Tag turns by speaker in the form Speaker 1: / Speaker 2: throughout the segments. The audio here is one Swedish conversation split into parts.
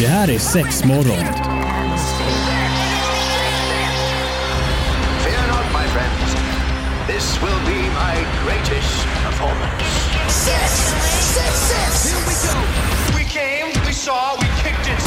Speaker 1: Det här är sex morgon.
Speaker 2: Fear not, my friends. This will be my greatest performance.
Speaker 3: Six, six, six.
Speaker 2: We came, we saw, we kicked its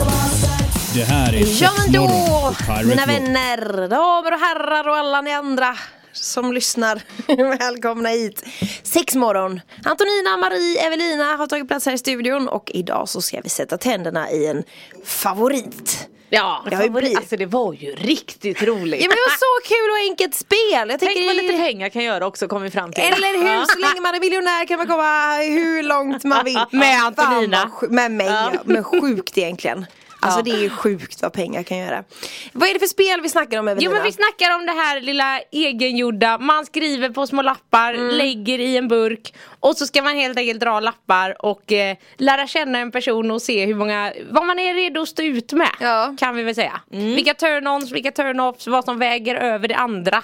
Speaker 2: ass.
Speaker 1: Det här är
Speaker 3: Ja
Speaker 1: sex
Speaker 3: men
Speaker 1: morgon på
Speaker 3: då,
Speaker 1: Pirate
Speaker 3: mina
Speaker 1: Rock.
Speaker 3: vänner, damer och herrar och alla ni andra som lyssnar. Välkomna hit. Sex morgon. Antonina, Marie, Evelina har tagit plats här i studion och idag så ska vi sätta tänderna i en favorit.
Speaker 4: Ja,
Speaker 3: Det har ju blivit-
Speaker 4: alltså det var ju riktigt roligt.
Speaker 3: Ja men det var så kul och enkelt spel. Jag
Speaker 4: Tänk
Speaker 3: tänker
Speaker 4: vad lite pengar kan göra också kommer vi fram till.
Speaker 3: Eller hur,
Speaker 4: Ja.
Speaker 3: så länge man är miljonär kan man komma hur långt man vill.
Speaker 4: Med
Speaker 3: Fan, vad
Speaker 4: Antonina.
Speaker 3: sj- Med mig, ja.
Speaker 4: Ja.
Speaker 3: men sjukt egentligen. Alltså
Speaker 4: Ja.
Speaker 3: det är ju sjukt vad pengar kan göra. Vad är det för spel vi snackar om Evelina?
Speaker 5: Jo men vi snackar om det här lilla egengjorda, man skriver på små lappar,
Speaker 3: Mm.
Speaker 5: lägger i en burk och så ska man helt enkelt dra lappar och eh, lära känna en person och se hur många, vad man är redo att stå ut med
Speaker 3: Ja. Mm.
Speaker 5: kan vi väl säga. Vilka turn-ons, vilka turn-offs, vad som väger över det andra.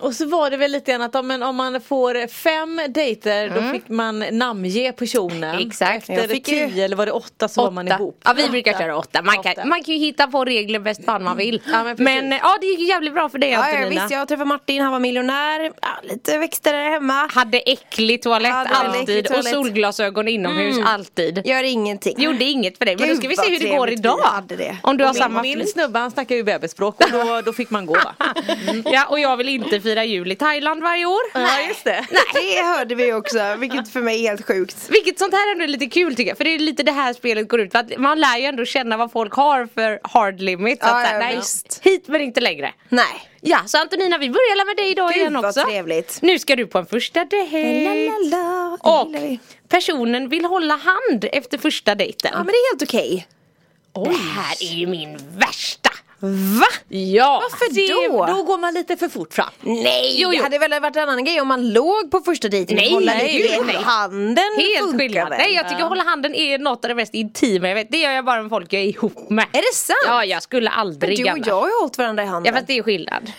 Speaker 4: Och så var det väl lite grann att om, en- om man får fem dejter då fick man namnge personen.
Speaker 5: Exakt.
Speaker 4: Efter
Speaker 3: Jag fick ju-
Speaker 4: tio eller var det åtta så var man
Speaker 5: Åtta.
Speaker 4: ihop.
Speaker 5: Ja vi brukar köra åtta, man
Speaker 4: Åtta.
Speaker 5: kan, man kan ju hitta på regler bäst fan man vill.
Speaker 4: Ja, men precis.
Speaker 5: men eh, ja det gick ju jävligt bra för dig
Speaker 3: Ja, ja,
Speaker 5: Antonina.
Speaker 3: visst, jag träffade Martin, han var miljonär, ja, lite växter där hemma.
Speaker 5: Hade äcklig toalett
Speaker 3: Hade äcklig
Speaker 5: alltid och
Speaker 3: toalett.
Speaker 5: solglasögon inomhus alltid.
Speaker 3: Gör ingenting.
Speaker 5: Gjorde inget för dig men då
Speaker 3: Gud,
Speaker 5: ska vi
Speaker 3: vad
Speaker 5: se hur det
Speaker 3: trevligt
Speaker 5: går
Speaker 3: vi
Speaker 5: idag.
Speaker 3: hade det.
Speaker 5: Om du har
Speaker 4: Och
Speaker 5: samma
Speaker 4: min, min
Speaker 5: flis.
Speaker 4: snubbe han snackar ju bebisspråk och då, då fick man gå va?
Speaker 5: Ja och jag vill inte fira jul i Thailand varje år.
Speaker 4: Ja just det.
Speaker 3: Det hörde vi också, vilket för mig är helt sjukt.
Speaker 5: Vilket sånt här ändå är lite kul tycker jag. För det är lite det här spelet går ut på. Att man lär ju ändå känna vad folk har för hard limit. Så
Speaker 3: Ja,
Speaker 5: att, så här,
Speaker 3: ja,
Speaker 5: nej,
Speaker 3: visst.
Speaker 5: hit men inte längre.
Speaker 3: Nej.
Speaker 5: Ja så Antonina vi börjar med dig idag
Speaker 3: Gud,
Speaker 5: igen
Speaker 3: vad
Speaker 5: också.
Speaker 3: trevligt.
Speaker 5: Nu ska du på en första dejt.
Speaker 3: Lalalala, det
Speaker 5: Eh, Och
Speaker 3: gillar vi.
Speaker 5: personen vill hålla hand efter första dejten.
Speaker 3: Ja men det är helt okej.
Speaker 5: Det här är ju min värsta.
Speaker 3: Va?
Speaker 5: Ja.
Speaker 3: Varför
Speaker 4: det
Speaker 3: då?
Speaker 4: Då går man lite för fort fram.
Speaker 3: Nej!
Speaker 5: Jo, jo.
Speaker 3: Det hade väl varit en annan grej om man låg på första dejten och
Speaker 5: Nej,
Speaker 3: kollade
Speaker 5: nej,
Speaker 3: hur
Speaker 5: gud, nej.
Speaker 3: handen
Speaker 5: Helt
Speaker 3: funkar
Speaker 5: skillnad.
Speaker 3: väl?
Speaker 5: Nej jag tycker hålla handen är något av det mest intima jag vet. Det gör jag bara med folk jag är ihop med.
Speaker 3: Är det sant?
Speaker 5: Ja jag skulle
Speaker 3: Men
Speaker 5: aldrig
Speaker 3: du och
Speaker 5: annars.
Speaker 3: jag har ju hållit varandra i
Speaker 5: Ja
Speaker 3: handen.
Speaker 5: fast det är skillnad.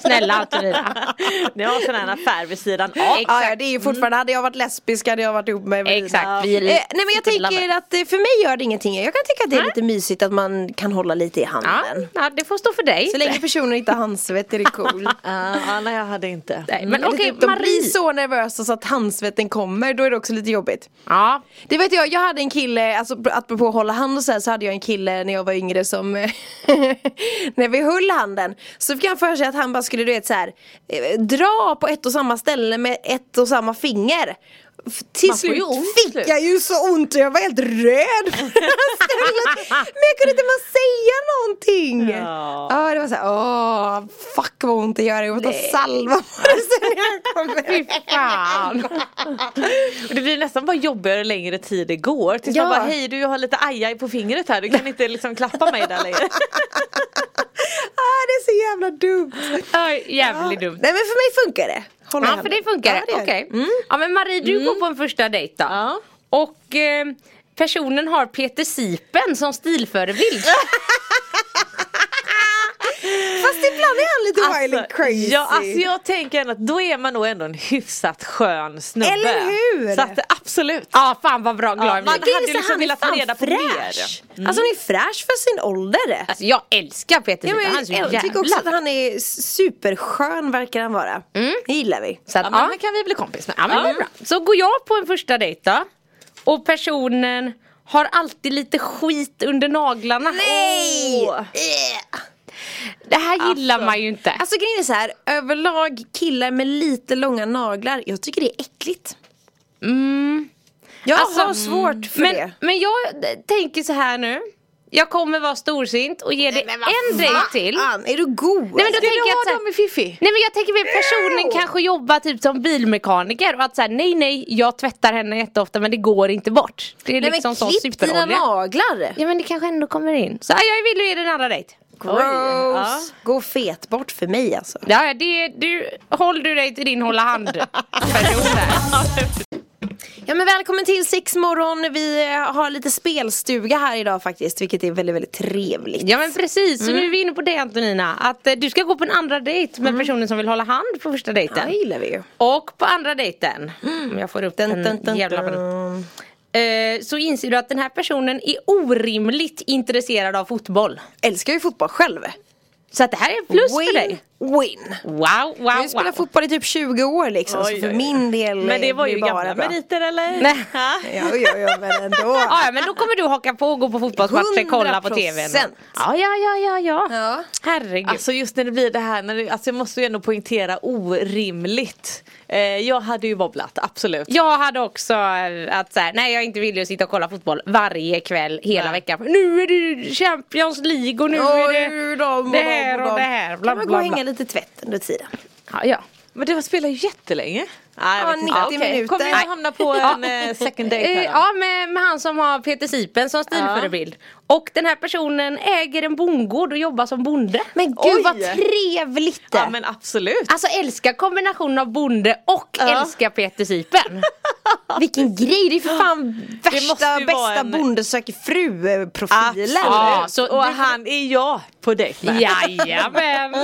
Speaker 5: Snälla Antonina.
Speaker 4: Ni har sån här affär vid sidan av.
Speaker 3: Ja, ja, det är ju fortfarande, hade jag varit lesbisk hade jag varit ihop med Evelina.
Speaker 5: Mm. Exakt, vi
Speaker 3: Eh,
Speaker 5: är lite
Speaker 3: nej men jag tänker
Speaker 5: labbade.
Speaker 3: att eh, för mig gör det ingenting. Jag kan tycka att det är
Speaker 5: Nej.
Speaker 3: lite mysigt att man kan hålla lite i
Speaker 5: Ja,
Speaker 3: handen.
Speaker 5: ja det får stå för dig.
Speaker 3: Så länge personen inte har handsvett är det cool.
Speaker 4: Ja, ja, nej jag hade inte.
Speaker 5: Nej, men
Speaker 3: Eller
Speaker 5: okej
Speaker 3: typ, de blir
Speaker 5: Marie.
Speaker 3: så nervösa så att handsvetten kommer, då är det också lite jobbigt.
Speaker 5: Ja.
Speaker 3: Det vet jag, jag hade en kille, alltså apropå att hålla hand och så, här, så hade jag en kille när jag var yngre som eh, När vi höll handen så fick han för sig att han bara skulle du vet så här eh, Dra på ett och samma ställe med ett och samma finger F- Till
Speaker 4: Man får ju
Speaker 3: slut
Speaker 4: ont till
Speaker 3: fick
Speaker 4: slut.
Speaker 3: jag ju så ont och jag var helt röd på stället. Men jag kunde inte bara säga någonting
Speaker 4: Ja.
Speaker 3: det var såhär, åh fuck vad ont det gör, jag får ta salva på det sen jag kommer
Speaker 5: Fy fan.
Speaker 4: Och det blir nästan bara jobbigare längre tid det går tills
Speaker 3: Ja.
Speaker 4: man bara hej du jag har lite ajaj på fingret här du kan inte liksom klappa mig där längre.
Speaker 3: ah, Det är så jävla dumt
Speaker 5: Oj, Jävligt dumt.
Speaker 3: Nej men för mig funkar det. Håll i
Speaker 5: Ja för
Speaker 3: handen.
Speaker 5: det funkar
Speaker 3: Ja,
Speaker 5: det.
Speaker 3: gör Mm.
Speaker 5: Okej. Ja men Marie du går på en första dejt då.
Speaker 4: Ja.
Speaker 5: Och eh, personen har Peter Sipen som stilförebild.
Speaker 3: Fast ibland är han lite wild and crazy.
Speaker 4: ja, alltså jag tänker ändå att då är man nog ändå en hyfsat skön snubbe.
Speaker 3: Eller hur?
Speaker 4: Så att absolut.
Speaker 5: Ja fan vad bra glad
Speaker 4: Ja,
Speaker 5: jag
Speaker 4: man
Speaker 5: blev.
Speaker 4: hade ju liksom
Speaker 3: han är
Speaker 4: velat
Speaker 3: fan
Speaker 4: få reda på mer.
Speaker 3: fräsch. Alltså han är fräsch för sin ålder.
Speaker 5: Alltså jag älskar Peter
Speaker 3: Ja,
Speaker 5: Sipen,
Speaker 3: men
Speaker 5: han är så
Speaker 3: jag,
Speaker 5: jävla
Speaker 3: tycker också att han är superskön verkar han vara. Det gillar vi.
Speaker 5: Så att,
Speaker 4: Ja, men
Speaker 5: ja,
Speaker 4: han kan vi bli kompis med.
Speaker 5: ja, men det är bra. Så går jag på en första dejt då och personen har alltid lite skit under naglarna. Åh,
Speaker 3: Eh.
Speaker 5: Det här gillar
Speaker 4: Alltså.
Speaker 5: man ju inte.
Speaker 3: Alltså grejen är så här, överlag killar med lite långa naglar, jag tycker det är äckligt. Mm. Jag
Speaker 5: Alltså,
Speaker 3: har svårt för
Speaker 5: men,
Speaker 3: det.
Speaker 5: men jag eh, tänker så här nu. Jag kommer vara storsint och ge dig en dejt till.
Speaker 3: Fan, är du
Speaker 5: Nej,
Speaker 3: god?
Speaker 5: men då
Speaker 4: Vill
Speaker 5: tänker jag att
Speaker 4: du
Speaker 5: så
Speaker 4: ha
Speaker 5: här-
Speaker 4: dem i Fifi?
Speaker 5: Nej men jag tänker mig personen kanske jobbar typ som bilmekaniker och att såhär nej nej jag tvättar henne jätteofta men det går inte bort. Det är
Speaker 3: Nej,
Speaker 5: liksom sån
Speaker 3: klipp dina
Speaker 5: superolja.
Speaker 3: naglar.
Speaker 5: Ja men det kanske ändå kommer in. Så ja, jag vill ju ge den andra dejt.
Speaker 3: Gross.
Speaker 4: Ja.
Speaker 3: Gå fet bort för mig alltså.
Speaker 5: Ja, ja, det, du, håll du dig till din hålla hand person där.
Speaker 3: Ja men välkommen till sex morgon. Vi eh, har lite spelstuga här idag faktiskt. Vilket är väldigt väldigt trevligt.
Speaker 5: Ja men precis, så nu är vi inne på det Antonina. Att eh, du ska gå på en andra dejt
Speaker 3: Mm.
Speaker 5: med personen som vill hålla hand på första
Speaker 3: Ja,
Speaker 5: dejten.
Speaker 3: det gillar vi ju.
Speaker 5: Och på andra dejten, om jag får upp
Speaker 3: Dun,
Speaker 5: den
Speaker 3: dun, dun,
Speaker 5: jävla
Speaker 3: dun.
Speaker 5: dun. eh, så inser du att den här personen är orimligt intresserad av fotboll.
Speaker 3: Älskar ju fotboll själv.
Speaker 5: Så att det här är ett plus
Speaker 3: win,
Speaker 5: för dig.
Speaker 3: Win.
Speaker 5: Wow, wow,
Speaker 3: Jag har ju spelat fotboll i typ 20 år liksom. så
Speaker 4: Oj,
Speaker 3: för
Speaker 4: oj, oj.
Speaker 3: min del
Speaker 4: Men det
Speaker 3: eh,
Speaker 4: var
Speaker 3: blir
Speaker 4: ju
Speaker 3: bara
Speaker 4: gamla
Speaker 3: bra.
Speaker 4: meriter eller?
Speaker 5: Nej.
Speaker 3: Ja, ja, ja, men ändå.
Speaker 5: Ah, Ja, ja, men då kommer du haka på och gå på fotbollsmatcher, kolla på tvn.
Speaker 3: 100%.
Speaker 5: Ja, ja, ja, ja, ja.
Speaker 3: Ja.
Speaker 5: Herregud.
Speaker 4: Alltså just när det blir det här, när det, alltså jag måste ju ändå poängtera orimligt. Eh, jag hade ju wobblat, absolut.
Speaker 5: jag hade också eh, att så här, nej jag är inte villig att sitta och kolla fotboll varje kväll hela veckan. Nu är det Champions League och nu är det det här och det här. Bla,
Speaker 3: Kan man gå och
Speaker 5: bla,
Speaker 3: hänga
Speaker 5: bla.
Speaker 3: lite tvätt under tiden.
Speaker 5: Ja, ja.
Speaker 4: Men det var spelar ju jättelänge.
Speaker 3: jag vet inte. Ja, okej.
Speaker 4: Kommer jag
Speaker 3: Nej.
Speaker 4: hamna på en eh, second date
Speaker 5: Eh,
Speaker 4: här då?
Speaker 5: Ja, med, med han som har Peter Sipen som stilförebild. Och den här personen äger en bondgård och jobbar som bonde.
Speaker 3: Men gud
Speaker 5: Oj.
Speaker 3: vad trevligt!
Speaker 4: Ja men absolut.
Speaker 5: Alltså älska kombinationen av bonde och
Speaker 4: Ja.
Speaker 5: älska Peter Sipen.
Speaker 3: Vilken grej, det är för fan
Speaker 4: måste
Speaker 3: värsta
Speaker 4: ju vara
Speaker 3: bästa
Speaker 4: en-
Speaker 3: bonde söker fru-profilen.
Speaker 5: Ja, så
Speaker 4: och
Speaker 5: det-
Speaker 4: han är jag på dejt med.
Speaker 5: Jajamän!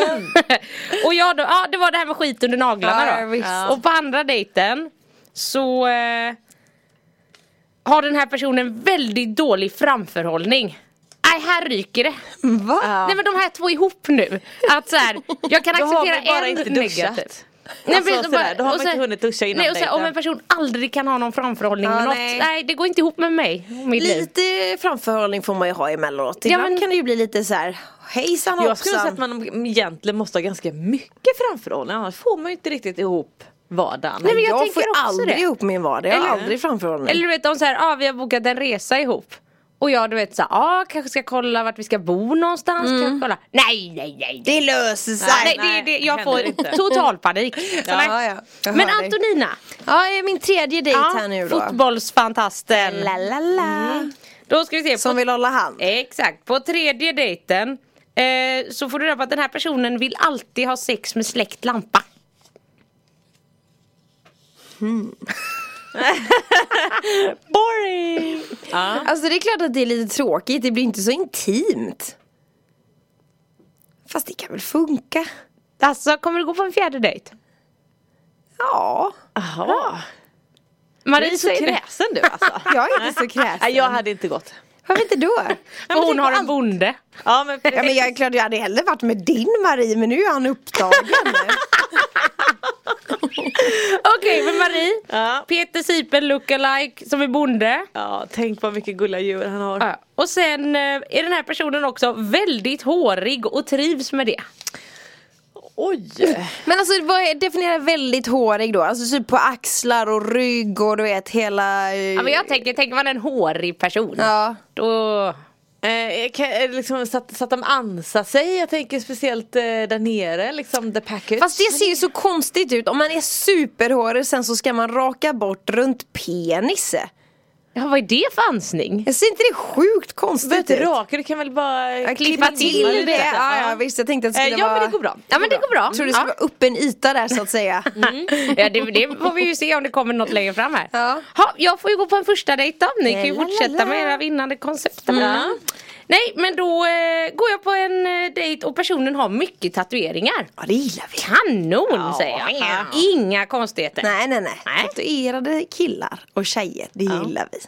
Speaker 5: och jag då, ja det var det här med skit under naglarna
Speaker 3: Ja,
Speaker 5: då.
Speaker 3: visst.
Speaker 5: Ja. Och på andra dejten så eh, har den här personen väldigt dålig framförhållning. Nej här ryker det.
Speaker 3: Va?
Speaker 5: Nej men de här två ihop nu. Att så här, jag kan
Speaker 4: Då har
Speaker 5: acceptera
Speaker 4: man bara
Speaker 5: en
Speaker 4: inte duschat.
Speaker 5: negativ.
Speaker 4: Nej,
Speaker 5: precis,
Speaker 4: alltså,
Speaker 5: och
Speaker 4: sådär,
Speaker 5: bara-
Speaker 4: då har
Speaker 5: och
Speaker 4: man inte
Speaker 5: så-
Speaker 4: hunnit duscha innan
Speaker 5: nej, och så, här, Om en
Speaker 4: dejten.
Speaker 5: person aldrig kan ha någon framförhållning
Speaker 3: Ja,
Speaker 5: med något,
Speaker 3: nej.
Speaker 5: nej det går inte ihop med mig och mitt liv.
Speaker 3: Lite framförhållning får man ju ha emellanåt.
Speaker 5: Ja,
Speaker 3: Ibland
Speaker 5: men-
Speaker 3: kan det ju bli lite så här hejsan
Speaker 4: Jag skulle säga
Speaker 3: hoppsan.
Speaker 4: att man egentligen måste ha ganska mycket framförhållning annars får man ju inte riktigt ihop vardagen.
Speaker 5: Nej, men jag
Speaker 3: jag
Speaker 5: tänker
Speaker 3: får
Speaker 5: också
Speaker 3: aldrig
Speaker 5: det.
Speaker 3: ihop min vardag, jag har
Speaker 5: Eller-
Speaker 3: aldrig framförhållning.
Speaker 5: Eller du vet om så här, ah, vi har bokat en resa ihop. Och jag du vet så här, ah, kanske ska kolla vart vi ska bo någonstans. Kanske kolla. Nej, nej, nej. nej.
Speaker 3: Mm. Det löser sig.
Speaker 5: Nej,
Speaker 4: nej,
Speaker 5: det, det, jag
Speaker 4: händer
Speaker 5: får
Speaker 4: inte.
Speaker 5: total panik. Så nej.
Speaker 3: Ja, ja, jag
Speaker 5: Men
Speaker 3: hör dig.
Speaker 5: Antonina,
Speaker 3: Ja, det är min tredje dejt
Speaker 5: ja,
Speaker 3: här nu då.
Speaker 5: fotbollsfantasten.
Speaker 3: La, la, la.
Speaker 5: Då ska vi se.
Speaker 3: Som
Speaker 5: på,
Speaker 3: vill hålla hand.
Speaker 5: Exakt, på tredje dejten eh, så får du reda på att den här personen vill alltid ha sex med släckt lampa.
Speaker 4: boring!
Speaker 3: Alltså det är klart att det är lite tråkigt, det blir inte så intimt. Fast det kan väl funka?
Speaker 5: Alltså, kommer du gå på en fjärde dejt?
Speaker 3: Ja,
Speaker 4: Jaha. Du är
Speaker 5: Marie
Speaker 4: så
Speaker 5: säger det.
Speaker 4: kräsen du alltså.
Speaker 3: jag är inte så
Speaker 4: Nej,
Speaker 3: kräsen.
Speaker 4: jag hade inte gått.
Speaker 3: Varför inte då?
Speaker 5: För hon har en bonde.
Speaker 4: Ja men,
Speaker 3: Ja men jag är klart jag hade hellre varit med din Marie men nu är han upptagen.
Speaker 5: Okej, men Marie.
Speaker 4: ja.
Speaker 5: Peter Sipen lookalike som är bonde.
Speaker 4: ja, tänk vad mycket gulliga djur han har.
Speaker 5: Ja. Och sen eh, är den här personen också väldigt hårig och trivs med det.
Speaker 4: Oj!
Speaker 3: Men alltså vad är, definiera väldigt hårig då? Alltså typ på axlar och rygg och du vet hela... eh,
Speaker 5: Ja, men jag tänker, tänker man en hårig person.
Speaker 3: Ja.
Speaker 5: Då...
Speaker 4: Eh, kan, eh, liksom, så, att, så att de ansar sig, jag tänker speciellt eh, där nere, liksom the package.
Speaker 3: Fast det ser ju så konstigt ut, om man är superhårig sen så ska man raka bort runt penis.
Speaker 5: Ja, vad är det för ansning?
Speaker 3: Jag ser inte det sjukt konstigt
Speaker 4: Vet du,
Speaker 3: ut?
Speaker 4: raka, du kan väl bara eh,
Speaker 3: Ja,
Speaker 5: klippa till
Speaker 3: det.
Speaker 5: lite.
Speaker 3: Ja, ja, visst, jag tänkte att det
Speaker 4: Eh,
Speaker 3: skulle
Speaker 4: Ja
Speaker 3: vara...
Speaker 4: men det går bra.
Speaker 5: Ja, men det går bra.
Speaker 3: Jag tror det skulle
Speaker 5: Ja. Mm.
Speaker 3: vara öppen yta där så att säga.
Speaker 5: Ja, det, det får vi ju se om det kommer något längre fram här.
Speaker 3: Ja.
Speaker 5: Ha, jag får ju gå på en första dejt då. Ni kan ju
Speaker 3: La, la,
Speaker 5: fortsätta
Speaker 3: la.
Speaker 5: med era vinnande koncept. Mm. Nej, men då eh, går jag på en eh, dejt och personen har mycket tatueringar.
Speaker 3: Ja, det gillar vi.
Speaker 5: Kanon säger jag. Inga konstigheter.
Speaker 3: Nej, nej, nej.
Speaker 5: Nej.
Speaker 3: Tatuerade killar och tjejer, det gillar vi.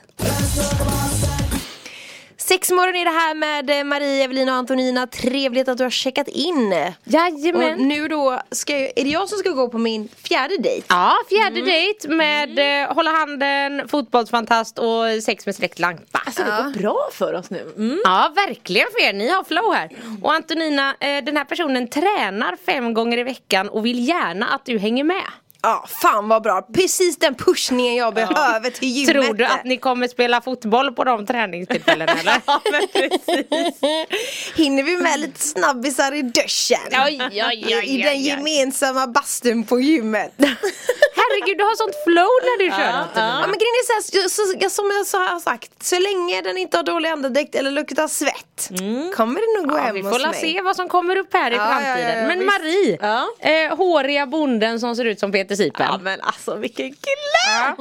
Speaker 3: Sexmorgon är det här med eh, Marie, Evelina och Antonina. Trevligt att du har checkat in. Och
Speaker 5: Jajamän.
Speaker 3: nu då, ska jag, är det jag som ska gå på min fjärde dejt?
Speaker 5: Ja,
Speaker 4: Mm.
Speaker 5: fjärde dejt med eh, hålla handen, fotbollsfantast och sex med släkt lampa.
Speaker 4: Alltså det går bra för oss nu. Mm.
Speaker 5: Ja, verkligen för er. Ni har flow här. Och Antonina, eh, den här personen tränar fem gånger i veckan och vill gärna att du hänger med.
Speaker 3: Ja, fan vad bra. Precis den pushningen jag behöver till gymmet.
Speaker 5: Tror du att ni kommer spela fotboll på de träningstillfällena eller?
Speaker 4: Ja men precis.
Speaker 3: Hinner vi med lite snabbisar i duschen?
Speaker 5: Oj, oj, oj,
Speaker 3: I- I
Speaker 5: oj,
Speaker 3: den
Speaker 5: oj.
Speaker 3: gemensamma bastun på gymmet.
Speaker 5: Herregud, du har sånt flow när du kör Antonina.
Speaker 3: Ja men grejen är så här, så, så, som jag så har sagt, så länge den inte har dålig andedräkt eller luktar svett kommer det nog
Speaker 5: Mm. Ja,
Speaker 3: gå hem
Speaker 5: vi
Speaker 3: hos
Speaker 5: får la
Speaker 3: mig.
Speaker 5: se vad som kommer upp här i
Speaker 3: Ja, ja, ja,
Speaker 5: framtiden.
Speaker 3: ja,
Speaker 5: men
Speaker 3: visst.
Speaker 5: Marie,
Speaker 4: Ja.
Speaker 5: eh, håriga bonden som ser ut som Peter heter Sipen.
Speaker 4: Ja men alltså vilken kille!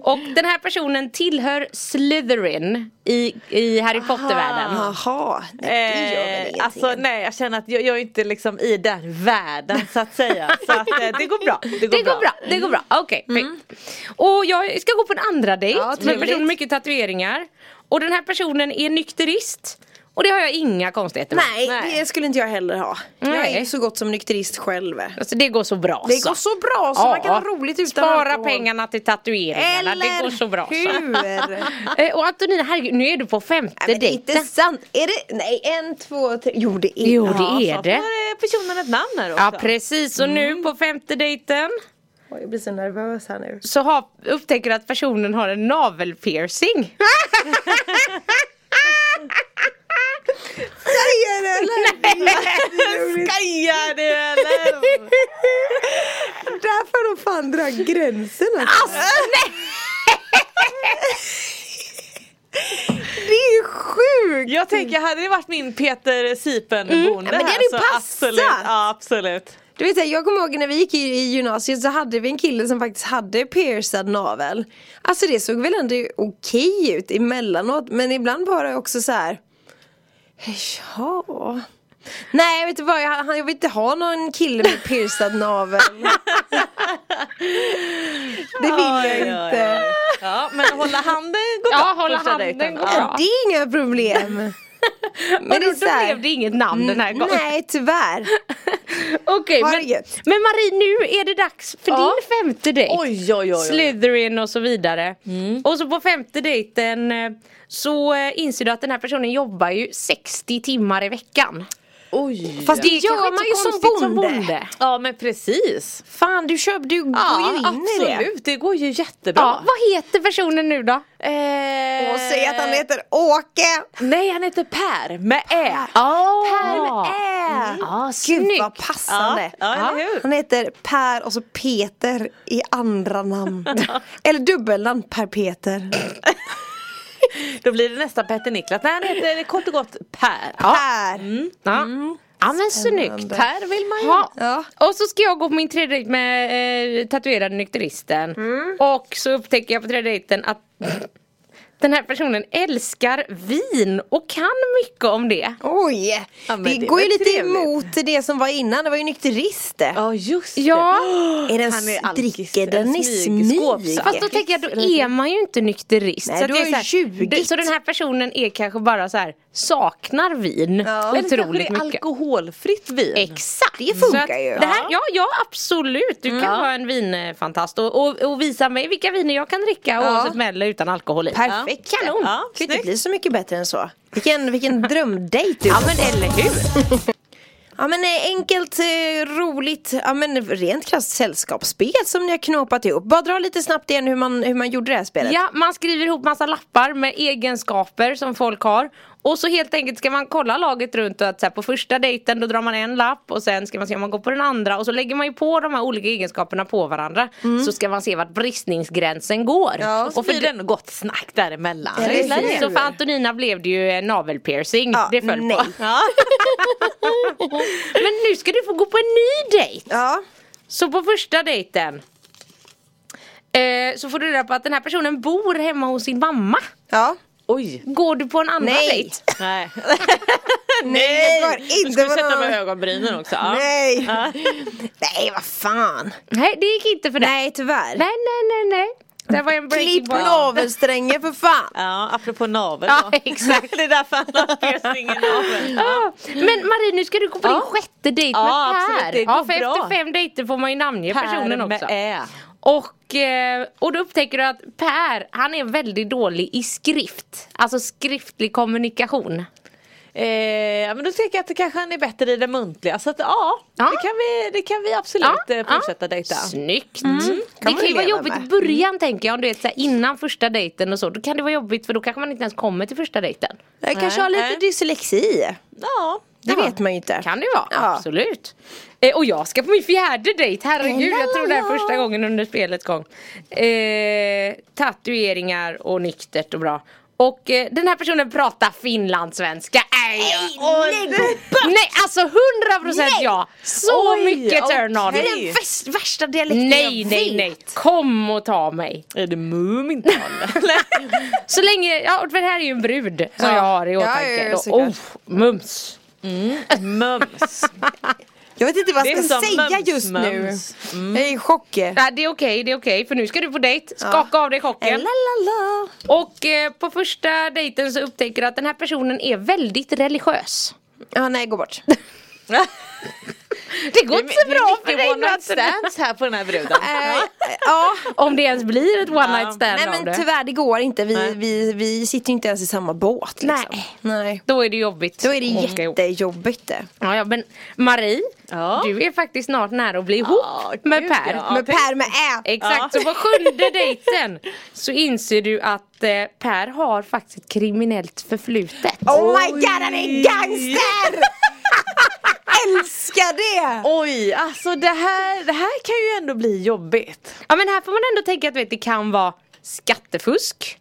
Speaker 5: Och den här personen tillhör Slytherin i, i Harry
Speaker 3: Ah,
Speaker 5: Potter-världen.
Speaker 3: Jaha, det gör väl ingenting.
Speaker 4: Eh, alltså nej jag känner att jag, jag är inte liksom i den världen så att säga. Så att eh, det går bra. Det går,
Speaker 5: Det går bra, det går bra. Okej, fint. Och jag ska gå på en andra dejt
Speaker 3: Mm. Ja,
Speaker 5: med en
Speaker 3: trevligt.
Speaker 5: person med mycket tatueringar. Och den här personen är nykterist. Och det har jag inga konstigheter med.
Speaker 3: Nej,
Speaker 4: Nej.
Speaker 3: det skulle inte jag heller ha. Jag är
Speaker 5: Nej.
Speaker 3: ju så gott som nykterist själv.
Speaker 5: Alltså det går så bra.
Speaker 3: Det går så bra så
Speaker 5: Ja.
Speaker 3: man kan ha roligt utan
Speaker 5: Spara
Speaker 3: alkohol.
Speaker 5: pengarna till tatueringarna,
Speaker 3: Eller
Speaker 5: det går så bra.
Speaker 3: hur?
Speaker 5: Eh, Och Antonina, herregud, nu är du på femte
Speaker 3: Nej, men det är
Speaker 5: dejten.
Speaker 3: inte sant. Är det? Nej, en, två, tre. Jo, det är
Speaker 5: Jo,
Speaker 3: Ja.
Speaker 5: det är
Speaker 4: så
Speaker 5: det.
Speaker 4: får eh, personen ett namn här också.
Speaker 5: Ja precis, och
Speaker 3: Mm.
Speaker 5: nu på femte dejten
Speaker 3: Oj, Jag blir så nervös här nu.
Speaker 5: så har, upptäcker du att personen har en navelpiercing.
Speaker 3: Säger det!
Speaker 4: Skojar du eller?
Speaker 3: Mm. Där får de fan dra gränsen alltså. Det är ju sjukt!
Speaker 4: Jag tänker, hade det varit min Peter Sipen-bonde
Speaker 3: Mm. men det
Speaker 4: här
Speaker 3: hade ju
Speaker 4: så
Speaker 3: passat.
Speaker 4: absolut. Ja, absolut.
Speaker 3: Du vet, så här, jag kommer ihåg när vi gick i, i gymnasiet så hade vi en kille som faktiskt hade piercad navel. Alltså det såg väl ändå okej ut emellanåt men ibland var det också så här. Jaha. Nej vet du vad, jag, han- jag vill inte ha någon kille med piercad navel. det vill jag
Speaker 4: Oj, oj, oj.
Speaker 3: inte.
Speaker 4: Ja, men hålla handen går bra.
Speaker 5: Ja, hålla
Speaker 4: första
Speaker 5: handen
Speaker 4: dejten.
Speaker 5: går
Speaker 4: Ja.
Speaker 5: bra.
Speaker 3: Det är inga problem.
Speaker 5: Men
Speaker 3: det är
Speaker 5: då,
Speaker 3: så
Speaker 5: då
Speaker 3: här- Mm.
Speaker 5: blev det inget namn den här gången.
Speaker 3: Nej tyvärr.
Speaker 5: Okej,
Speaker 3: Ha
Speaker 5: men,
Speaker 3: det gött.
Speaker 5: men Marie nu är det dags för
Speaker 4: Ja.
Speaker 5: din femte dejt.
Speaker 4: Oj, oj, oj, oj.
Speaker 5: Slytherin och så vidare.
Speaker 3: Mm.
Speaker 5: Och så på femte dejten eh, så eh, inser du att den här personen jobbar ju 60 timmar i veckan.
Speaker 4: Oj.
Speaker 3: Fast det,
Speaker 5: Det är
Speaker 3: gör
Speaker 5: kanske
Speaker 3: man ju
Speaker 5: inte
Speaker 3: som
Speaker 5: konstigt
Speaker 3: bonde.
Speaker 5: som bonde.
Speaker 4: Ja, men precis.
Speaker 3: Fan du köper, du går ju in i det.
Speaker 4: absolut. Det går ju jättebra.
Speaker 5: Ja, vad heter personen nu då?
Speaker 4: Eh,
Speaker 3: Och säg att han heter Åke!
Speaker 4: Nej, han heter Per med Ä.
Speaker 5: Oh.
Speaker 3: Ä.
Speaker 5: Ja,
Speaker 3: Gud
Speaker 5: Ah, snyggt.
Speaker 3: vad passande!
Speaker 4: Ja, ja, eller hur?
Speaker 3: Han heter Per och så Peter i andra namn. Eller dubbelnamn Per Peter.
Speaker 4: Då blir det nästan Petter Niklas. Nej, han heter kort och gott Per.
Speaker 3: Per!
Speaker 4: Mm.
Speaker 5: Ja. Ja men snyggt.
Speaker 4: Per vill man ju.
Speaker 5: Ja.
Speaker 3: Ja.
Speaker 5: Och så ska jag gå på min tredje dejt med eh, tatuerade nykteristen. Och så upptäcker jag på tredje dejten att den här personen älskar vin och kan mycket om det.
Speaker 3: Oj!
Speaker 4: Ja, men
Speaker 3: det,
Speaker 4: det
Speaker 3: går ju
Speaker 4: var
Speaker 3: lite
Speaker 4: trevligt.
Speaker 3: emot det som var innan, det var ju nykterist det.
Speaker 4: Ja, just det.
Speaker 5: Ja,
Speaker 3: Är den,
Speaker 4: han är
Speaker 3: s-
Speaker 4: alkis,
Speaker 3: dricker den i
Speaker 4: smyg-
Speaker 3: smyg?
Speaker 4: skåpsal.
Speaker 5: fast då tänker jag då är man ju inte nykterist.
Speaker 3: Nej,
Speaker 5: så att
Speaker 3: då
Speaker 5: det
Speaker 3: är
Speaker 5: så, här-
Speaker 3: 20.
Speaker 5: det- så den här personen är kanske bara så här saknar vin
Speaker 3: Ja.
Speaker 4: Eller kanske det
Speaker 5: otroligt
Speaker 4: är
Speaker 5: mycket.
Speaker 4: alkoholfritt vin.
Speaker 5: Exakt!
Speaker 3: Det funkar
Speaker 5: Så att
Speaker 3: ju.
Speaker 5: Det här, ja, ja absolut, du kan vara en vinfantast och, och, och visa mig vilka viner jag kan dricka
Speaker 3: Ja.
Speaker 5: oavsett med eller utan alkohol i.
Speaker 3: Perfekt!
Speaker 5: Ja. Kanon!
Speaker 4: Ja,
Speaker 3: kan ju inte
Speaker 4: snyggt.
Speaker 3: bli så mycket bättre än så. Vilken, vilken drömdejt du
Speaker 5: Ja men eller hur!
Speaker 3: Ja men eh, enkelt, eh, roligt, ja men rent krasst sällskapsspel som ni har knåpat ihop. Bara dra lite snabbt igen hur man, hur man gjorde det här spelet.
Speaker 5: Ja, man skriver ihop massa lappar med egenskaper som folk har och så helt enkelt ska man kolla laget runt och att så här, på första dejten då drar man en lapp och sen ska man se om man går på den andra och så lägger man ju på de här olika egenskaperna på varandra så ska man se vart bristningsgränsen går.
Speaker 3: Ja.
Speaker 4: Och så blir det ändå gott snack däremellan.
Speaker 3: Ja,
Speaker 5: Ja,
Speaker 3: Eller
Speaker 5: precis.
Speaker 3: hur?
Speaker 5: Så för Antonina blev det ju en navelpiercing.
Speaker 3: Ja,
Speaker 5: det föll
Speaker 3: nej.
Speaker 5: på. Men nu ska du få gå på en ny dejt.
Speaker 3: Ja.
Speaker 5: Så på första dejten eh, så får du reda på att den här personen bor hemma hos sin mamma.
Speaker 3: Ja.
Speaker 4: Oj.
Speaker 5: Går du på en annan
Speaker 3: Nej.
Speaker 5: dejt?
Speaker 4: Nej.
Speaker 3: Nej, det var
Speaker 4: Du
Speaker 3: inte
Speaker 4: skulle
Speaker 3: vad
Speaker 4: sätta
Speaker 3: någon-
Speaker 4: med ögonbrynen också. Ja.
Speaker 3: Nej.
Speaker 4: Ja.
Speaker 3: Nej, vad fan.
Speaker 5: Nej, det gick inte för dig.
Speaker 3: Nej,
Speaker 5: Nej,
Speaker 3: tyvärr.
Speaker 5: nej, nej, nej. Det var en breaking
Speaker 3: Klipp
Speaker 5: point.
Speaker 3: navelsträngen för fan.
Speaker 4: Ja, apropå navel
Speaker 5: Ja,
Speaker 4: då.
Speaker 5: exakt.
Speaker 4: Det är därför han har piercing i naveln.
Speaker 5: Ah, Men Marie, nu ska du gå på
Speaker 4: Ja.
Speaker 5: din sjätte dejt
Speaker 4: Ja,
Speaker 5: med Per.
Speaker 4: absolut, det
Speaker 5: ja,
Speaker 4: går
Speaker 5: för
Speaker 4: bra.
Speaker 5: efter fem dejter får man ju namnge personen
Speaker 4: med
Speaker 5: också.
Speaker 4: Ä.
Speaker 5: Och, eh, och då upptäcker du att Per, han är väldigt dålig i skrift. Alltså skriftlig kommunikation.
Speaker 4: Eh, ja, men då tänker jag att det kanske han är bättre i det muntliga. Så att, ja,
Speaker 5: Ja.
Speaker 4: Det, kan vi, det kan vi absolut eh, fortsätta dejta.
Speaker 5: Snyggt! Mm. Det
Speaker 3: Mm. man
Speaker 5: kan ju vara
Speaker 3: leva
Speaker 5: jobbigt
Speaker 3: med.
Speaker 5: i början tänker jag, om du vet, så här, innan första dejten och så. Då kan det vara jobbigt för då kanske man inte ens kommer till första dejten.
Speaker 3: Jag kanske har
Speaker 4: nej.
Speaker 3: lite dyslexi.
Speaker 4: Ja.
Speaker 3: Det
Speaker 5: Ja.
Speaker 3: vet man ju inte.
Speaker 5: Kan det vara,
Speaker 3: Ja.
Speaker 5: absolut. Eh, och jag ska på min fjärde dejt, herregud jag tror det
Speaker 3: Lalalala.
Speaker 5: är första gången under spelets gång. Eh, tatueringar och nyktert och bra. Och eh, den här personen pratar finlandssvenska. nej! Oj. Nej, alltså 100 procent
Speaker 3: Nej.
Speaker 5: ja! Så
Speaker 4: Oj,
Speaker 5: mycket turn-on!
Speaker 3: Det är den väst, värsta dialekten
Speaker 5: Nej,
Speaker 3: jag
Speaker 5: nej,
Speaker 3: vet.
Speaker 5: nej! Kom och ta mig!
Speaker 4: Är det Mumintrollen?
Speaker 5: Så länge, ja och det här är ju en brud som jag har i
Speaker 3: Ja, ja,
Speaker 5: åtanke.
Speaker 3: ja,
Speaker 5: Då-
Speaker 3: såklart.
Speaker 5: oh, mums!
Speaker 4: Mums.
Speaker 3: Jag vet inte vad
Speaker 4: Det är
Speaker 3: jag ska
Speaker 4: som
Speaker 3: säga
Speaker 4: mums,
Speaker 3: just
Speaker 4: mums.
Speaker 3: nu. Jag är i chock.
Speaker 5: Nej, det är okej, det är okej för nu ska du på dejt, skaka av dig chocken.
Speaker 3: Lalalala.
Speaker 5: Och eh, på första dejten så upptäcker du att den här personen är väldigt religiös.
Speaker 3: Ja, nej, gå bort.
Speaker 4: Mm.
Speaker 5: Det går inte så bra för dig
Speaker 4: one night
Speaker 5: Nathalie.
Speaker 4: stands här på den här bruden.
Speaker 3: Eh, ja,
Speaker 5: Om det ens blir ett one night stand
Speaker 3: nej
Speaker 5: av
Speaker 3: men
Speaker 5: det.
Speaker 3: tyvärr det går inte. Vi,
Speaker 4: Nej.
Speaker 3: vi, vi sitter ju inte ens i samma båt liksom.
Speaker 5: Nej.
Speaker 3: nej.
Speaker 5: Då är det jobbigt.
Speaker 3: Då är det
Speaker 5: att åka ihop.
Speaker 3: jättejobbigt det.
Speaker 5: Ja, ja, men Marie,
Speaker 4: Ja.
Speaker 5: du är faktiskt snart nära att bli ihop med
Speaker 4: gud,
Speaker 5: Per.
Speaker 4: ja.
Speaker 3: Med Per med Ä.
Speaker 5: Exakt,
Speaker 4: Ja.
Speaker 5: så på sjunde dejten så inser du att eh, Per har faktiskt ett kriminellt förflutet.
Speaker 3: Oh my god han är en gangster! Älskar det!
Speaker 4: Oj, alltså det här, det här kan ju ändå bli jobbigt.
Speaker 5: Ja men här får man ändå tänka att vet, det kan vara skattefusk.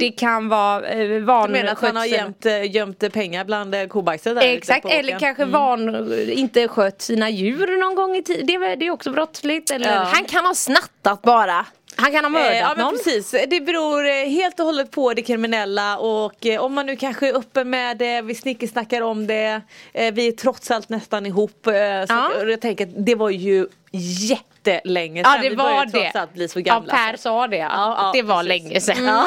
Speaker 5: Det kan vara eh,
Speaker 4: Mm. Du menar att han har
Speaker 5: vanskötsel.
Speaker 4: gömt, eh, gömt eh, pengar bland eh, kobajset där ute
Speaker 5: Exakt,
Speaker 4: på
Speaker 5: eller
Speaker 4: åkern? Mm.
Speaker 5: kanske van, inte skött sina djur någon gång i tiden. Det, är väl- det är också brottsligt. Eller,
Speaker 4: Ja.
Speaker 5: han,
Speaker 3: kan ha snattat bara.
Speaker 5: han kan ha mördat
Speaker 4: Eh, Ja men
Speaker 5: någon.
Speaker 4: precis, det beror eh, helt och hållet på det kriminella och eh, om man nu kanske är uppe med det, vi snickesnackar om det, eh, vi är trots allt nästan ihop. eh, Så
Speaker 5: Ja.
Speaker 4: och jag tänker att det var ju jättelänge
Speaker 5: Ja det
Speaker 4: vi
Speaker 5: var
Speaker 4: börjar ju
Speaker 5: det.
Speaker 4: trots allt bli så
Speaker 5: ja,
Speaker 4: gamla.
Speaker 5: Per
Speaker 4: så.
Speaker 5: sa det.
Speaker 4: Ja, ja,
Speaker 5: att det var
Speaker 4: precis. Mm.
Speaker 5: länge sedan.
Speaker 4: Ja.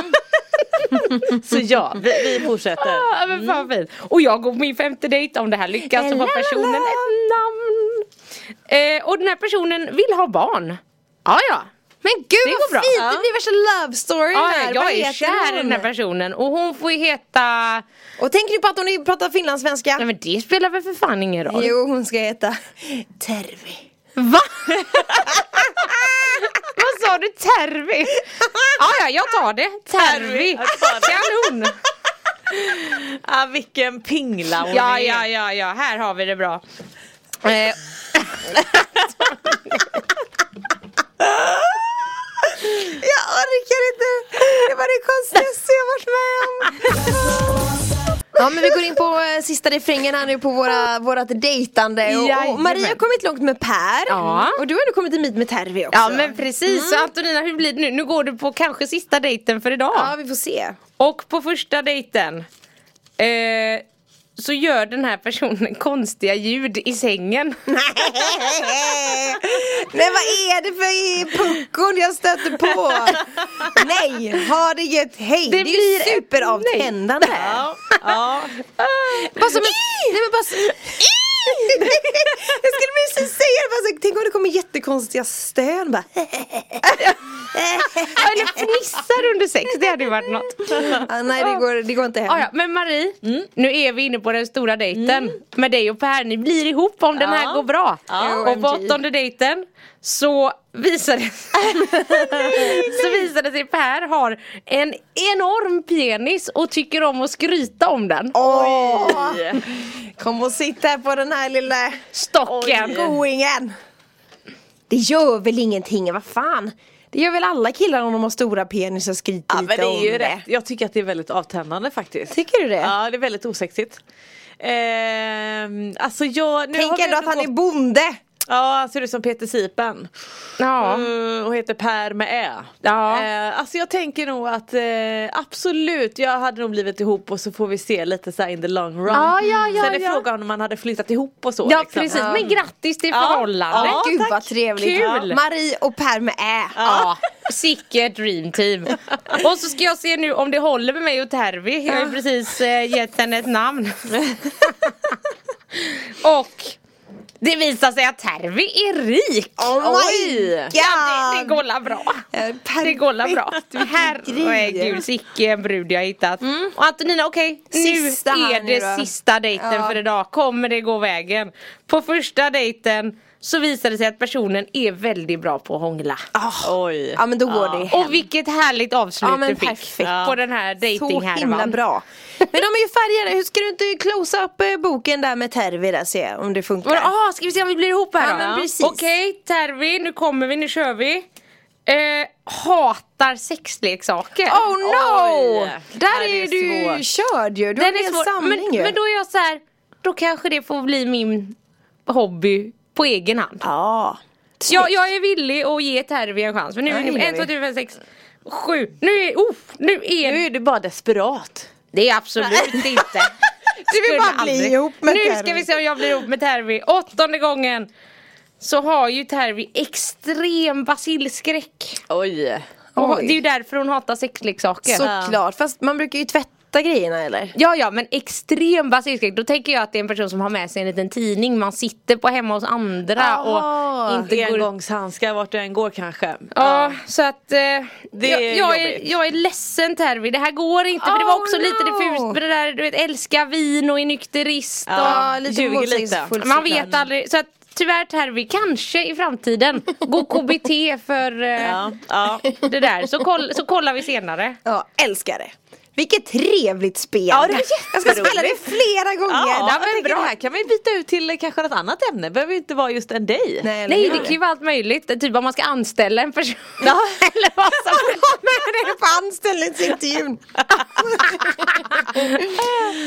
Speaker 4: så ja, vi, vi fortsätter.
Speaker 5: Ja, men fan
Speaker 4: Mm.
Speaker 5: fint. Och jag går på min femte dejt, om det här lyckas så får personen ett namn. Eh, och den här personen vill ha barn. Ja, ja.
Speaker 3: Men gud
Speaker 5: Det går
Speaker 3: vad
Speaker 5: bra.
Speaker 3: fint,
Speaker 5: Ja.
Speaker 3: det blir värsta love story
Speaker 5: Ja,
Speaker 3: här. Vad
Speaker 5: jag är
Speaker 3: heter
Speaker 5: kär i den här
Speaker 3: hon?
Speaker 5: personen och hon får ju heta...
Speaker 3: Och tänker ni på att hon är- pratar finlandssvenska?
Speaker 5: Nej men det spelar väl för fan ingen roll.
Speaker 3: Jo hon ska heta Tervi.
Speaker 5: Va? Vad sa du? Tervi? Ja, ja, jag tar det. Tervi. Kanon.
Speaker 4: Ah, vilken pingla hon
Speaker 5: Ja,
Speaker 4: är.
Speaker 5: ja, ja, ja, här har vi det bra. Eh,
Speaker 3: Jag orkar inte! Det var det konstigaste jag varit med om! Ja men vi går in på eh, sista refrängen här nu på våra, vårat dejtande och, och
Speaker 5: Jajamän.
Speaker 3: Maria har kommit långt med Per
Speaker 5: Ja.
Speaker 3: och du har ändå kommit en bit med Tervi också
Speaker 5: Ja men precis, så
Speaker 3: Mm.
Speaker 5: Antonina hur blir det nu? Nu går du på kanske sista dejten för idag.
Speaker 3: Ja vi får se
Speaker 5: Och på första dejten eh, så gör den här personen konstiga ljud i sängen.
Speaker 3: Nej vad är det för puckon jag stöter på? Nej, ha det gött, hej! Det,
Speaker 5: blir
Speaker 3: är ju
Speaker 5: ett
Speaker 3: superavtändande!
Speaker 4: Ja, ja.
Speaker 3: Bara som en... Nej men bara så... Jag skulle precis säga det, bara så, tänk om det kommer jättekonstiga stön bara.
Speaker 5: Eller fnissar under sex, det hade ju varit något.
Speaker 3: Ah, nej det går, det går inte hem.
Speaker 5: Ah, ja. Men Marie, nu är vi inne på den stora dejten med dig och Per. Ni blir ihop om den här
Speaker 4: Ja.
Speaker 5: går bra.
Speaker 4: Ja.
Speaker 5: Och på
Speaker 3: OMG.
Speaker 5: åttonde dejten så visar det så visar det sig Per har en enorm penis och tycker om att skryta om den.
Speaker 3: Åh, kom och sitt här på den här lilla
Speaker 5: Stocken!
Speaker 3: goingen. Det gör väl ingenting, vad fan. Det gör väl alla killar om de har stora penisar skryter
Speaker 4: ja
Speaker 3: lite
Speaker 4: men det är ju
Speaker 3: om
Speaker 4: rätt. Jag tycker att det är väldigt avtändande faktiskt.
Speaker 3: Tycker du det?
Speaker 4: Ja det är väldigt osexigt. Ehm, alltså jag... Nu har
Speaker 3: Tänk
Speaker 4: vi
Speaker 3: ändå att han
Speaker 4: gått-
Speaker 3: är bonde.
Speaker 4: Ja, han ser ut som Peter Sipen.
Speaker 5: Ja.
Speaker 4: Mm, och heter Per med Ä.
Speaker 5: Ja.
Speaker 4: Eh, alltså jag tänker nog att eh, absolut, jag hade nog blivit ihop och så får vi se lite så här in the long run.
Speaker 5: Ja, ja, ja,
Speaker 4: Sen är
Speaker 5: ja.
Speaker 4: frågan om man hade flyttat ihop och så.
Speaker 5: Ja
Speaker 4: liksom.
Speaker 5: precis, men grattis till
Speaker 4: Ja.
Speaker 5: förhållandet!
Speaker 4: Ja,
Speaker 3: Gud
Speaker 4: tack.
Speaker 3: vad trevligt.
Speaker 5: Kul.
Speaker 3: Marie och Per med Ä.
Speaker 5: Ja, sicket dream team. Och så ska jag se nu om det håller med mig och Tervi. Jag har ju precis eh, gett henne ett namn. och det visar sig att Tervi är rik.
Speaker 3: Oh my
Speaker 5: Oj.
Speaker 3: god!
Speaker 5: Ja, det, det går la bra.
Speaker 3: Eh,
Speaker 5: Det går la bra.
Speaker 3: perfekt, vilken grej. Mm.
Speaker 5: Herregud, sicken brud jag hittat. Och Antonina, okej, nu
Speaker 3: Sista här
Speaker 5: är
Speaker 3: nu
Speaker 5: det
Speaker 3: då.
Speaker 5: sista dejten
Speaker 3: Ja.
Speaker 5: för idag. Kommer det gå vägen? På första dejten så visar det sig att personen är väldigt bra på att hångla.
Speaker 4: Oj.
Speaker 3: Ah. Ja men då går det hem.
Speaker 5: Och vilket härligt avslut
Speaker 3: Ja, men
Speaker 5: du fick
Speaker 3: perfekt.
Speaker 5: på den här
Speaker 3: Så himla
Speaker 5: dejtinghärvan.
Speaker 3: bra. Men de är ju färgade, hur ska du inte close up eh, boken där med Tervi där se om det funkar?
Speaker 5: Ah, Jaha, ska vi se om vi blir ihop här
Speaker 3: Ja,
Speaker 5: då?
Speaker 3: men precis.
Speaker 5: Okej, Tervi, nu kommer vi, nu kör vi. Eh, hatar sexleksaker.
Speaker 3: Oh no!
Speaker 4: Oj.
Speaker 3: Där
Speaker 4: Nej,
Speaker 3: är,
Speaker 4: det
Speaker 3: du
Speaker 4: är svårt.
Speaker 3: körd ju, du har en hel samling
Speaker 5: men,
Speaker 3: ju.
Speaker 5: men då är jag så här, då kanske det får bli min hobby på egen hand.
Speaker 3: Ja.
Speaker 5: Jag, jag är villig att ge Tervi en chans. Men nu
Speaker 3: Ja,
Speaker 5: är
Speaker 3: det
Speaker 5: det
Speaker 3: gör
Speaker 5: 1,
Speaker 3: vi.
Speaker 5: 2, 3, 4, 5, 6, 7. Nu är, oh, nu är
Speaker 4: Nu är du bara desperat.
Speaker 5: Det är absolut inte.
Speaker 3: Du vill
Speaker 5: Skulle
Speaker 3: bara bli
Speaker 5: aldrig.
Speaker 3: ihop med
Speaker 5: Nu
Speaker 3: Tervi.
Speaker 5: ska vi se om jag blir ihop med Tervi. Åttonde gången så har ju Tervi extrem basilskräck.
Speaker 4: Oj.
Speaker 5: Och
Speaker 3: Oj.
Speaker 5: det är ju därför hon hatar sexleksaker.
Speaker 3: Såklart, fast man brukar ju tvätta grejerna eller?
Speaker 5: Ja ja men extrem basilskräck, då tänker jag att det är en person som har med sig en liten tidning, man sitter på hemma hos andra
Speaker 3: Aha,
Speaker 5: och inte går
Speaker 4: Engångshandskar vart du än går kanske.
Speaker 5: Ja, så att eh, jag,
Speaker 4: är
Speaker 5: jag, är,
Speaker 4: jobbigt.
Speaker 5: jag är ledsen Tervi, det här går inte. för det var
Speaker 3: Oh,
Speaker 5: också lite
Speaker 3: no.
Speaker 5: diffust med det där, du vet älska vin och är nykterist.
Speaker 3: Ja,
Speaker 4: Ja,
Speaker 3: lite
Speaker 4: ljuger lite.
Speaker 3: motsägelsefullt
Speaker 5: Man
Speaker 3: såklart.
Speaker 5: vet aldrig. Så att, tyvärr Tervi, kanske i framtiden gå KBT för eh,
Speaker 4: Ja, ja.
Speaker 5: det där. Så, koll, så kollar vi senare.
Speaker 3: Ja, älskar det. Vilket trevligt spel.
Speaker 4: Ja, det var
Speaker 3: jag ska spela det
Speaker 4: jätteroligt.
Speaker 3: flera
Speaker 4: Ja,
Speaker 3: gånger.
Speaker 4: jag
Speaker 5: men
Speaker 4: tänker
Speaker 5: bra.
Speaker 4: det här kan vi byta ut till eh, kanske något annat ämne. behöver ju inte vara just en dig.
Speaker 3: eller
Speaker 5: Nej
Speaker 3: hur?
Speaker 5: det kan ju vara allt möjligt, typ om man ska anställa en person.
Speaker 4: Ja.
Speaker 5: Eller vad som
Speaker 3: Han har med det på anställningsintervjun.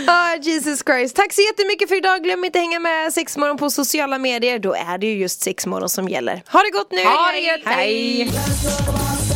Speaker 3: Ah, Jesus Christ. Tack så jättemycket för idag. Glöm inte hänga med Sexmorgon på sociala medier. Då är det ju just Sexmorgon som gäller. Ha det gott nu.
Speaker 5: Ha det gött. Hej.
Speaker 1: Dance all by myself.